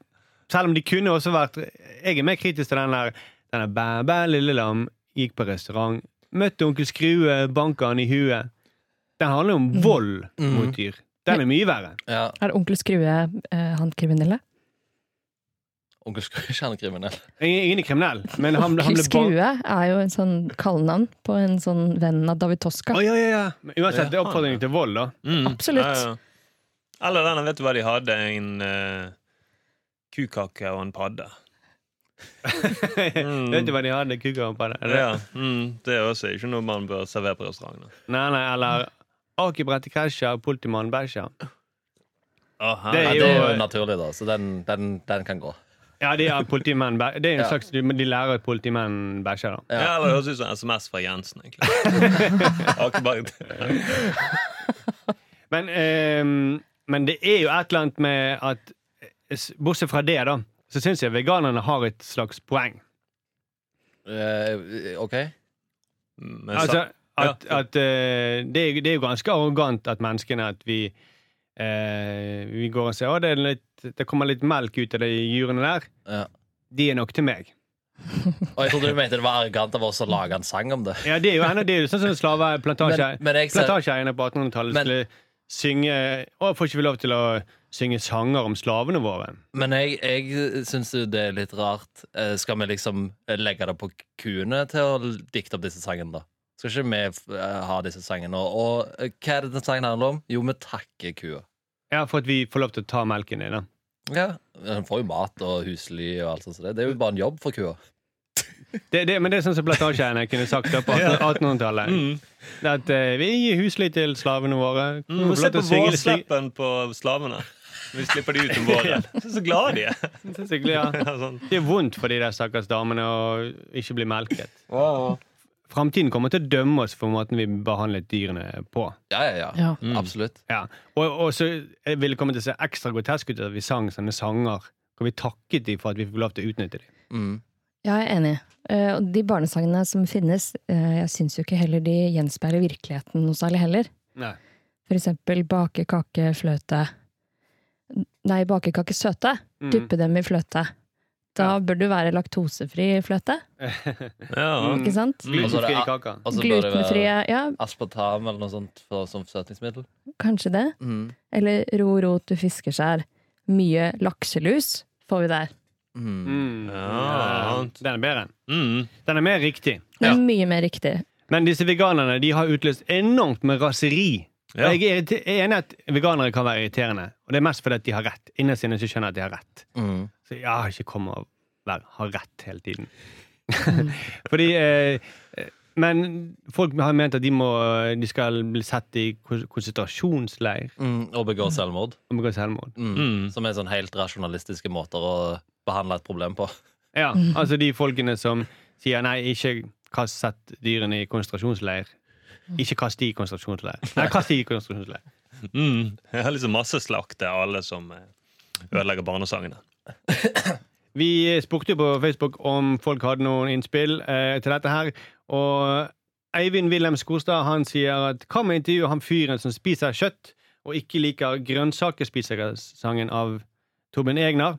[SPEAKER 6] Selv om de kunne også vært Jeg er mer kritisk til den der denne bæ, bæ, lille lam, gikk på restaurant, møtte onkel Skrue, banka han i huet. Den handler jo om
[SPEAKER 2] Mm.
[SPEAKER 6] vold
[SPEAKER 3] Mm.
[SPEAKER 6] mot dyr. Den er mye verre.
[SPEAKER 7] Ja,
[SPEAKER 2] Er onkel Skrue eh, han kriminelle?
[SPEAKER 7] Onkel Skrue er ikke han kriminell.
[SPEAKER 6] Ingen, ingen er kriminell, men han, han
[SPEAKER 2] Onkel
[SPEAKER 6] ble banka
[SPEAKER 2] Skrue er jo en sånn kallenavn på en sånn venn av David Toska.
[SPEAKER 6] ja, ja, ja. Men Uansett, det er oppfordringen til vold, da.
[SPEAKER 2] Absolutt.
[SPEAKER 3] Ja, ja. Eller denne, vet du hva de hadde? En eh, kukake og en padde.
[SPEAKER 6] Vet du hva de hadde? Kugger på det?
[SPEAKER 3] Mm. Ja. Mm, det er også ikke noe man bør servere på restaurantene.
[SPEAKER 6] Nei, nei, eller Akebrettet krasjer, politimannen bæsjer.
[SPEAKER 3] Aha.
[SPEAKER 6] Det
[SPEAKER 7] Ja,
[SPEAKER 6] er
[SPEAKER 7] det er
[SPEAKER 6] jo
[SPEAKER 7] jo naturlig, da, så den, den, den kan gå.
[SPEAKER 6] Ja, det er politimenn bæ- Det er en
[SPEAKER 7] Ja.
[SPEAKER 6] slags De de lærer at politimenn bæsjer, da.
[SPEAKER 3] Ja, eller Det høres ut som en SMS fra Jensen, egentlig. Akeberg.
[SPEAKER 6] Men, ehm, men det er jo et eller annet med at s- bortsett fra det, da, så syns jeg veganerne har et slags poeng.
[SPEAKER 7] Eh, OK?
[SPEAKER 3] Men sa-
[SPEAKER 6] Altså, at,
[SPEAKER 3] Ja.
[SPEAKER 6] at, eh, det, er, det er jo ganske arrogant at menneskene at vi eh, Vi går og sier at det, er litt, det kommer litt melk ut av de dyrene der.
[SPEAKER 7] Ja.
[SPEAKER 6] De er nok til meg.
[SPEAKER 7] Og jeg trodde du mente det var arrogant av oss å lage en sang om det.
[SPEAKER 6] Ja, Det er jo ennå det er jo sånn som slaveplantasje.
[SPEAKER 7] Men- men jeg ser-
[SPEAKER 6] Plantasjeeierne på 1800-tallet
[SPEAKER 7] Men-
[SPEAKER 6] skulle synge Å, får ikke vi lov til å synge sanger om slavene våre?
[SPEAKER 7] Men jeg, jeg syns jo det er litt rart. Eh, Skal vi liksom legge det på kuene til å dikte opp disse sangene, da? Skal ikke vi f- eh, ha disse sangene? Og, og eh, hva er det den sangen handler om? Jo, vi takker kua.
[SPEAKER 6] Ja, for at vi får lov til å ta melken din. da.
[SPEAKER 7] Ja, Hun får jo mat og husly og alt sånt. som det. Det er jo bare en jobb for kua.
[SPEAKER 6] Det, det, men det er sånn som plantasjeeierne kunne sagt da på 1800-tallet. At eh, vi gir husly til slavene våre.
[SPEAKER 3] Mm,
[SPEAKER 6] Får
[SPEAKER 3] se på
[SPEAKER 6] lov til å synge- synge-
[SPEAKER 3] vårsleppen på slavene. Vi slipper de ut om våren. Så, så glade de er.
[SPEAKER 6] Det er så hyggelig, ja.
[SPEAKER 3] Sånn.
[SPEAKER 6] Det er vondt for de der stakkars damene å ikke bli melket. Framtiden kommer til å dømme oss for måten vi behandlet dyrene på.
[SPEAKER 7] Ja, ja, ja.
[SPEAKER 2] Ja.
[SPEAKER 7] Absolutt.
[SPEAKER 6] Ja. Og, og så vil det komme til å se ekstra grotesk ut at vi sang sånne sanger. Hvor vi takket dem for at vi fikk lov til å utnytte dem.
[SPEAKER 7] Mm.
[SPEAKER 2] Ja, jeg er enig. Eh, og de barnesangene som finnes, eh, jeg syns jo ikke heller de gjenspeiler virkeligheten noe særlig heller.
[SPEAKER 6] Nei.
[SPEAKER 2] For eksempel bake kake fløte. Nei, bake kake søte.
[SPEAKER 6] Mm.
[SPEAKER 2] Duppe dem i fløte. Da bør du være laktosefri fløte,
[SPEAKER 3] Ja.
[SPEAKER 6] Mm.
[SPEAKER 2] ikke sant?
[SPEAKER 7] Og så er det
[SPEAKER 6] Glutenfrie
[SPEAKER 7] a-
[SPEAKER 6] kaker.
[SPEAKER 7] Og så bør det være
[SPEAKER 2] Glutenfrie, ja,
[SPEAKER 7] aspartam eller noe sånt for, som søtningsmiddel.
[SPEAKER 2] kanskje det.
[SPEAKER 7] Mm.
[SPEAKER 2] Eller ro, ro, du fiskeskjær. Mye lakselus får vi der.
[SPEAKER 7] Mm.
[SPEAKER 6] Mm.
[SPEAKER 3] Ja.
[SPEAKER 6] Den er bedre.
[SPEAKER 3] Mm.
[SPEAKER 6] Den er mer riktig.
[SPEAKER 2] Det er mye mer riktig.
[SPEAKER 6] Men disse veganerne de har utløst enormt med raseri.
[SPEAKER 3] Ja.
[SPEAKER 6] Og Jeg er irrite- jeg er enig i at veganere kan være irriterende, og det er mest fordi at de har rett. Innerst inne så skjønner jeg at de har rett.
[SPEAKER 7] Mm.
[SPEAKER 6] Så jeg har ikke kommet av vær, har rett hele tiden. Fordi eh, eh, Men folk har ment at de, må, de skal bli sett i kon- konsentrasjonsleir
[SPEAKER 7] Mm. Og begår selvmord.
[SPEAKER 6] og begå selvmord.
[SPEAKER 7] Mm.
[SPEAKER 3] Mm.
[SPEAKER 7] Som er sånn helt rasjonalistiske måter å behandle et problem på.
[SPEAKER 6] Ja, altså de folkene som sier nei, ikke kast sett dyrene i konsentrasjonsleir. Ikke kast de i konsentrasjonsleir. Nei, kast de i konsentrasjonsleir.
[SPEAKER 3] Mm. Jeg har liksom masseslakt av alle som eh, ødelegger barnesangene.
[SPEAKER 6] Vi spurte jo på Facebook om folk hadde noen innspill eh, til dette her. Og Eivind Wilhelm Skorstad han sier at hva med intervjuet han fyren som spiser kjøtt, og ikke liker grønnsakerspisersangen av Torbjørn Egner?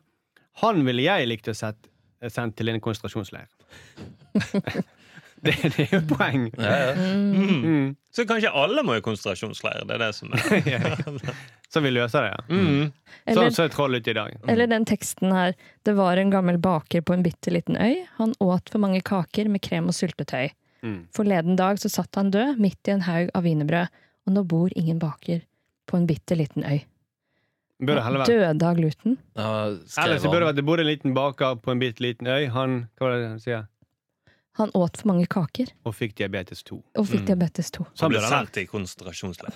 [SPEAKER 6] Han ville jeg likt å sett, eh, sendt til en konsentrasjonsleir. det, det er jo et poeng. Mm.
[SPEAKER 3] Så kanskje alle må i konsentrasjonsleir. Det er det som
[SPEAKER 6] Sånn
[SPEAKER 3] er
[SPEAKER 6] Så vi løser det, ja.
[SPEAKER 3] mm.
[SPEAKER 6] Så,
[SPEAKER 2] Eller,
[SPEAKER 6] så er troll ute i dag.
[SPEAKER 2] eller den teksten her. Det var en gammel baker på en bitte liten øy. Han åt for mange kaker med krem og syltetøy.
[SPEAKER 6] Mm.
[SPEAKER 2] Forleden dag så satt han død midt i en haug av wienerbrød. Og nå bor ingen baker på en bitte liten øy.
[SPEAKER 6] Burde det heller vært.
[SPEAKER 2] Døde av gluten.
[SPEAKER 7] Ja, skrev
[SPEAKER 6] Ellers så
[SPEAKER 7] han.
[SPEAKER 6] burde det vært det bodde en liten baker på en bitte liten øy. Han, hva var det han sier?
[SPEAKER 2] Han åt for mange kaker
[SPEAKER 6] Og fikk diabetes 2.
[SPEAKER 2] og fikk diabetes 2.
[SPEAKER 3] Han
[SPEAKER 6] Sånn
[SPEAKER 3] ble
[SPEAKER 6] blir det.
[SPEAKER 3] sendt i konsentrasjonsleir.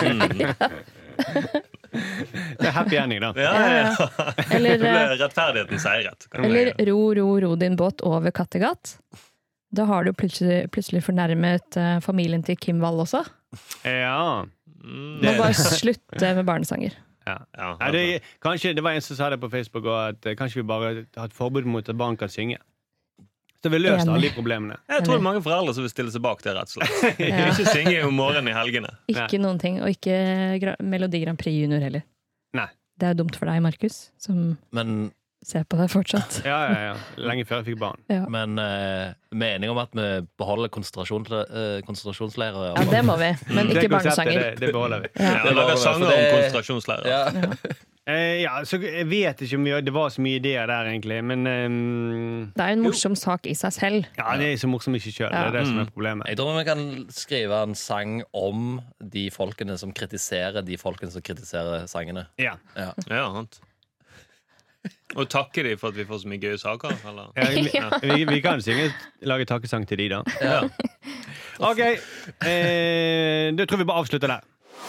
[SPEAKER 3] Mm.
[SPEAKER 6] Det er happy ending, da.
[SPEAKER 3] Ja, ja, ja.
[SPEAKER 2] Eller,
[SPEAKER 3] Det ble
[SPEAKER 2] eh,
[SPEAKER 3] rettferdigheten seiret. kan man
[SPEAKER 2] eller
[SPEAKER 3] si.
[SPEAKER 2] ro, ro, ro din båt over Kattegat. Da har du plutselig, plutselig fornærmet eh, familien til Kim Wall også.
[SPEAKER 6] Ja.
[SPEAKER 3] Mm.
[SPEAKER 2] Må bare slutte med barnesanger.
[SPEAKER 6] ja.
[SPEAKER 3] Ja,
[SPEAKER 6] Nei, det, kanskje, det var en som sa det på Facebook også, at eh, kanskje vi bare har et forbud mot at barn kan synge. Så vi løser
[SPEAKER 2] Enig.
[SPEAKER 6] alle de problemene.
[SPEAKER 3] Jeg tror det er mange foreldre som vil stille seg bak det, rett og slett.
[SPEAKER 2] Ja.
[SPEAKER 3] Ikke synge om morgenen i helgene.
[SPEAKER 2] Ikke noen ting. Og ikke Gra Melodi Grand Prix Junior heller.
[SPEAKER 6] Nei.
[SPEAKER 2] Det er jo dumt for deg, Markus, som
[SPEAKER 7] Men,
[SPEAKER 2] ser på deg fortsatt.
[SPEAKER 6] Ja, ja, ja. Lenge før jeg fikk barn.
[SPEAKER 7] men eh, vi er enige om at vi beholder konsentrasjon, eh, konsentrasjonsleirer.
[SPEAKER 2] Ja, det må vi. Men
[SPEAKER 6] Det
[SPEAKER 2] ikke
[SPEAKER 6] konseptet,
[SPEAKER 2] barnesanger.
[SPEAKER 6] Det, det beholder vi.
[SPEAKER 3] Ja,
[SPEAKER 7] Det var
[SPEAKER 3] Lage
[SPEAKER 7] det,
[SPEAKER 3] sanger om
[SPEAKER 7] for det-
[SPEAKER 3] konsentrasjonsleirer.
[SPEAKER 7] Ja.
[SPEAKER 6] Eh, ja, så jeg vet ikke om vi- det var så mye ideer der, egentlig. Men eh,
[SPEAKER 2] Det er jo en morsom sak i seg selv.
[SPEAKER 6] ja, det er så morsomt ikke selv. Det er det som
[SPEAKER 2] Mm.
[SPEAKER 6] er problemet.
[SPEAKER 7] Jeg tror vi kan skrive en sang om de folkene som kritiserer de folkene som kritiserer sangene.
[SPEAKER 6] Ja.
[SPEAKER 7] Ja.
[SPEAKER 3] Ja, sant. Og takke dem for at vi får så mye gøye saker. Eller?
[SPEAKER 6] Ja, vi, vi, vi kan synge, lage takkesang til de, da.
[SPEAKER 7] Ja.
[SPEAKER 6] OK. Eh, da tror vi bare avslutter der.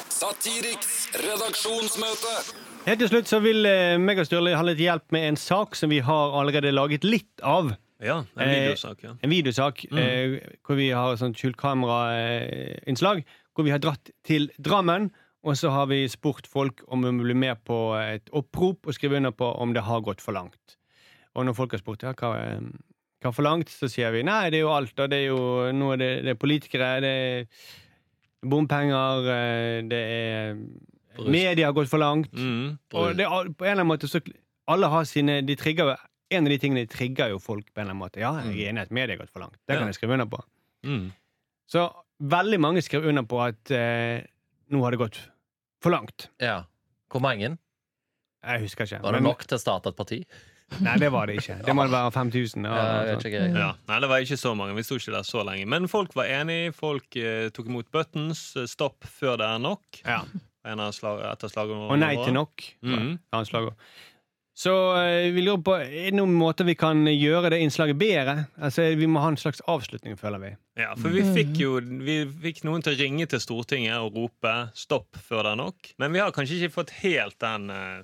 [SPEAKER 5] Satiriks redaksjonsmøte.
[SPEAKER 6] Helt til slutt så vil eh, meg og Sturle ha litt hjelp med en sak som vi har allerede laget litt av. Eh,
[SPEAKER 3] Ja, en videosak, ja. Mm.
[SPEAKER 6] En videosak eh, hvor vi har sånn skjult kamera-innslag. Hvor vi har dratt til Drammen Og så har vi spurt folk om de vil bli med på et opprop og skrive under på om det har gått for langt. Og når folk har spurt ja, hva, eh, hva for langt, så sier vi nei, det er jo alt. Og det er jo nå er det, det er politikere, det er bompenger, eh, det er
[SPEAKER 7] Brus.
[SPEAKER 6] Media har gått for langt.
[SPEAKER 3] Mm.
[SPEAKER 6] Og det, er al- på en eller annen måte så alle har sine de trigger, jo- En av de tingene de trigger jo folk på en eller annen måte. Ja, jeg er
[SPEAKER 7] Mm.
[SPEAKER 6] enig i at media har gått for langt. Det kan
[SPEAKER 3] Ja.
[SPEAKER 6] jeg skrive under på.
[SPEAKER 3] Mm.
[SPEAKER 6] Så veldig mange skrev under på at eh, nå har det gått for langt.
[SPEAKER 7] Ja. Hvor mange?
[SPEAKER 6] Jeg husker ikke.
[SPEAKER 7] Var det nok til å starte et parti?
[SPEAKER 6] Nei, det var det ikke. Det må det være 5000.
[SPEAKER 7] Ja, jeg vet ikke.
[SPEAKER 3] Ja, Nei, det var ikke så mange. Vi sto ikke der så lenge. Men folk var enig. Folk eh, tok imot buttons. eh, Stopp før det er nok.
[SPEAKER 6] Ja.
[SPEAKER 3] En av slag, et av slagene
[SPEAKER 6] Og nei til nok. var
[SPEAKER 7] Mm.
[SPEAKER 3] Mhm.
[SPEAKER 6] hans slagord. Så eh, vi lurer på er det noen måter vi kan gjøre det innslaget bedre. Altså, Vi må ha en slags avslutning, føler vi.
[SPEAKER 3] Ja, for vi fikk jo vi fikk noen til å ringe til Stortinget og rope 'stopp' før det er nok. Men vi har kanskje ikke fått helt den eh,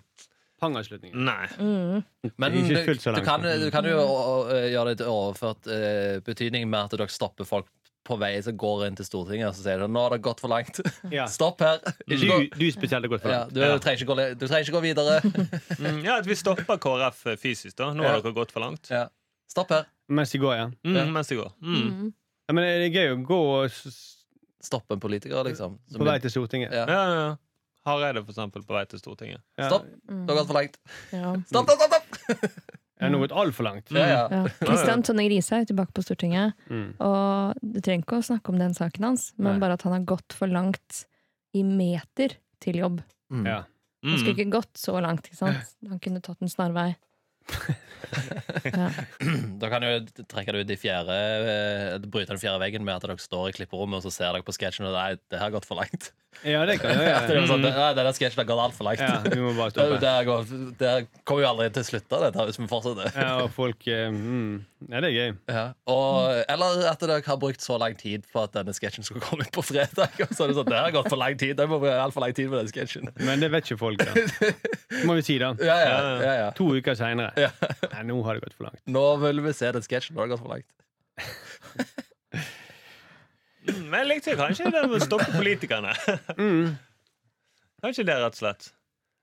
[SPEAKER 6] Pangavslutningen.
[SPEAKER 3] Nei.
[SPEAKER 2] Mm.
[SPEAKER 7] Men
[SPEAKER 6] Ikke
[SPEAKER 7] du,
[SPEAKER 6] fullt så
[SPEAKER 7] du,
[SPEAKER 6] langt.
[SPEAKER 7] kan, eh, du kan jo å- å- gjøre det til overført eh, betydning med at dere stopper folk på vei som går inn til Stortinget og så sier de, nå har det gått for langt.
[SPEAKER 6] Ja.
[SPEAKER 7] Stopp her.
[SPEAKER 6] Du,
[SPEAKER 7] Ikke gå.
[SPEAKER 6] du spesielt har gått for
[SPEAKER 7] Ja,
[SPEAKER 6] langt.
[SPEAKER 7] du, trenger ikke gå, le- du trenger ikke gå videre.
[SPEAKER 3] Mm, ja, at vi stopper KrF eh, fysisk, da. Nå har
[SPEAKER 7] Ja.
[SPEAKER 3] dere gått for langt.
[SPEAKER 7] Ja. Stopp her.
[SPEAKER 6] Mens de går, ja.
[SPEAKER 3] Mm,
[SPEAKER 7] Ja.
[SPEAKER 3] Mens det går. Mm.
[SPEAKER 6] ja. Men det er gøy å gå og s- s-
[SPEAKER 7] Stopp en politiker, liksom. Som-
[SPEAKER 6] på vei til Stortinget.
[SPEAKER 3] Ja,
[SPEAKER 7] Ja.
[SPEAKER 3] ja, ja. Hareide, for eksempel, på vei til Stortinget.
[SPEAKER 6] Ja.
[SPEAKER 7] Stopp.
[SPEAKER 2] Mm.
[SPEAKER 7] Det har gått for langt.
[SPEAKER 2] Ja.
[SPEAKER 7] Stopp, stopp, stopp! stopp.
[SPEAKER 6] Jeg har nå gått altfor langt.
[SPEAKER 7] Ja, ja.
[SPEAKER 2] Ja. Kristian Tonne Grise er tilbake på Stortinget.
[SPEAKER 6] Mm.
[SPEAKER 2] Og du trenger ikke å snakke om den saken hans,
[SPEAKER 6] Nei.
[SPEAKER 2] men bare at han har gått for langt i meter til jobb.
[SPEAKER 7] Mm.
[SPEAKER 6] Ja.
[SPEAKER 2] Han skulle
[SPEAKER 3] Mm.
[SPEAKER 2] ikke gått så langt, ikke sant? Han kunne tatt en snarvei. Ja.
[SPEAKER 7] Da kan du trekke det ut i fjerde eh, Bryte den fjerde veggen med at dere står i klipperommet og så ser dere på sketsjen og nei, det her har gått for langt.
[SPEAKER 6] ja, det kan jeg
[SPEAKER 7] At det
[SPEAKER 6] gjøre.
[SPEAKER 7] er sånn, nei, denne sketsjen har gått altfor langt.
[SPEAKER 6] Ja, vi må bare
[SPEAKER 7] Det,
[SPEAKER 6] stoppe.
[SPEAKER 7] her går, det her kommer jo aldri til slutt av dette hvis vi fortsetter.
[SPEAKER 6] Ja, og folk eh, mm. Ja, det er gøy.
[SPEAKER 7] Ja. Og, eller at dere har brukt så lang tid på at denne sketsjen skulle komme ut på fredag. Og så er det sånn, det her har gått for lang tid. Det må bli alt for lang tid med den sketsjen.
[SPEAKER 6] Men det vet ikke folk, da. Må vi si, da.
[SPEAKER 7] Ja, ja, ja, ja.
[SPEAKER 6] To uker seinere.
[SPEAKER 7] Ja.
[SPEAKER 6] Nei, nå har det gått for langt.
[SPEAKER 7] Nå vil vi se den sketsjen. Nå har det gått for langt.
[SPEAKER 3] Mm, Men jeg likte kanskje det med å stoppe politikerne.
[SPEAKER 6] Mm.
[SPEAKER 3] Kanskje det, rett og slett.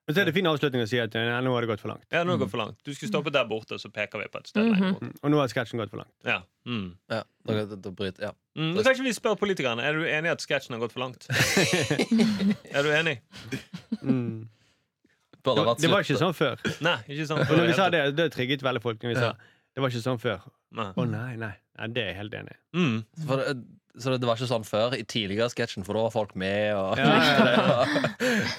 [SPEAKER 6] Men så er det fin avslutning å si at ja, nå har det gått for langt.
[SPEAKER 3] Ja, nå går det for langt. Du skulle stoppe der borte, så peker vi på et sted
[SPEAKER 6] Mhm.
[SPEAKER 3] lenger bort.
[SPEAKER 6] Og nå har sketsjen gått for langt.
[SPEAKER 3] Ja. Mm.
[SPEAKER 7] Ja, da, da, da bryter, ja.
[SPEAKER 3] Mm, men kanskje vi spør politikerne Er du enig i at sketsjen har gått for langt. er du enig?
[SPEAKER 6] Mm.
[SPEAKER 7] Burde
[SPEAKER 6] Det,
[SPEAKER 7] ha vært
[SPEAKER 6] det var
[SPEAKER 7] slutt.
[SPEAKER 6] ikke sånn før.
[SPEAKER 3] Nei, ikke sånn.
[SPEAKER 6] Og når vi sa det, det trigget veldig folk. Når vi sa det var ikke sånn før.
[SPEAKER 3] Nei.
[SPEAKER 6] Å nei, nei. nei. Det er jeg helt enig i.
[SPEAKER 3] Mm.
[SPEAKER 7] For det, så det, det var ikke sånn før i tidligere sketsjen, for da var folk med. Og,
[SPEAKER 6] Ja, ja,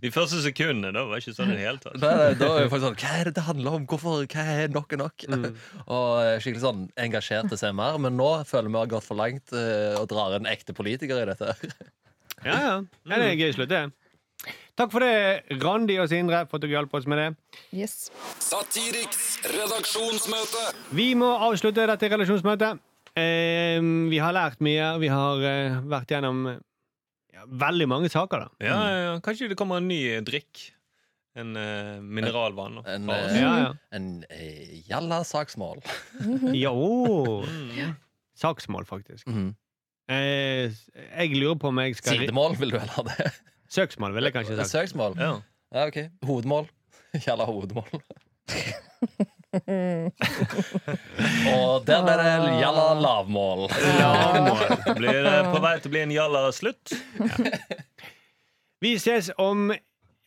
[SPEAKER 3] De første sekundene da var ikke sånn i det hele tatt.
[SPEAKER 7] Nei, nei, da er jo folk sånn Hva er det det handler om? Hvorfor, hva er nok er nok?
[SPEAKER 6] Mm.
[SPEAKER 7] Og eh, skikkelig sånn engasjerte CMR. Men nå føler vi har gått for langt eh, og drar en ekte politiker i dette.
[SPEAKER 6] Ja, ja. Mm. ja det er en gøy slutt, det. Takk for det, Randi og Sindre, for at dere hjalp oss med det.
[SPEAKER 2] Yes.
[SPEAKER 5] Satiriks redaksjonsmøte.
[SPEAKER 6] Vi må avslutte dette relasjonsmøtet. Eh, vi har lært mye. Vi har eh, vært gjennom eh, ja, veldig mange saker, da.
[SPEAKER 3] Ja, ja, ja. Kanskje det kommer en ny eh, drikk. En eh, mineralvann. da.
[SPEAKER 7] En,
[SPEAKER 3] Bare-
[SPEAKER 7] eh,
[SPEAKER 6] Ja, ja.
[SPEAKER 7] en eh, jalla saksmål.
[SPEAKER 6] Mm. ja å. Saksmål, faktisk.
[SPEAKER 7] Mhm.
[SPEAKER 6] Eh, jeg lurer på om jeg skal
[SPEAKER 7] Sidemål, vil du vel ha det?
[SPEAKER 6] Søksmål, ville jeg kanskje sagt.
[SPEAKER 7] Søksmål?
[SPEAKER 3] ja.
[SPEAKER 7] Ja, ok. Hovedmål. Jalla hovedmål. og der ble det jalla lavmål.
[SPEAKER 3] Lavmål. Blir det på vei til å bli en jalla slutt?
[SPEAKER 6] Vi ses om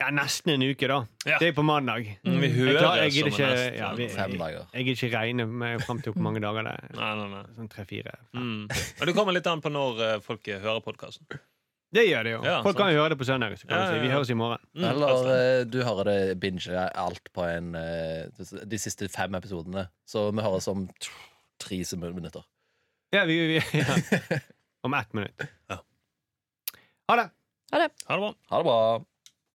[SPEAKER 6] ja, nesten en uke, da.
[SPEAKER 3] Ja.
[SPEAKER 6] Det er på mandag.
[SPEAKER 3] Mm, vi
[SPEAKER 6] Jeg,
[SPEAKER 3] hører
[SPEAKER 6] klar, jeg gidder
[SPEAKER 3] som en
[SPEAKER 6] ikke
[SPEAKER 3] hest.
[SPEAKER 6] ja, vi,
[SPEAKER 7] Fem
[SPEAKER 6] jeg,
[SPEAKER 7] dager.
[SPEAKER 6] jeg gidder ikke regne meg fram til hvor mange dager det er.
[SPEAKER 3] Nei, nei, nei.
[SPEAKER 6] Sånn tre-fire.
[SPEAKER 3] Mm. Og det kommer litt an på når eh, folk eh, hører podkasten.
[SPEAKER 6] Det gjør det jo.
[SPEAKER 3] Ja,
[SPEAKER 6] Folk
[SPEAKER 3] sant.
[SPEAKER 6] kan jo høre det på søndag. Så kan
[SPEAKER 3] Ja,
[SPEAKER 6] vi
[SPEAKER 3] ja,
[SPEAKER 6] si. Vi
[SPEAKER 3] ja.
[SPEAKER 6] høres i morgen.
[SPEAKER 3] Mm,
[SPEAKER 7] Eller
[SPEAKER 3] forresten.
[SPEAKER 7] eh, du hører det binge alt på en eh, de siste fem episodene. Så vi høres om t- tre semu- minutter.
[SPEAKER 6] Ja, vi, vi, ja. Om ett minutt.
[SPEAKER 3] Ja.
[SPEAKER 6] Ha det!
[SPEAKER 2] Ha det.
[SPEAKER 3] Ha det bra.
[SPEAKER 7] Ha det bra.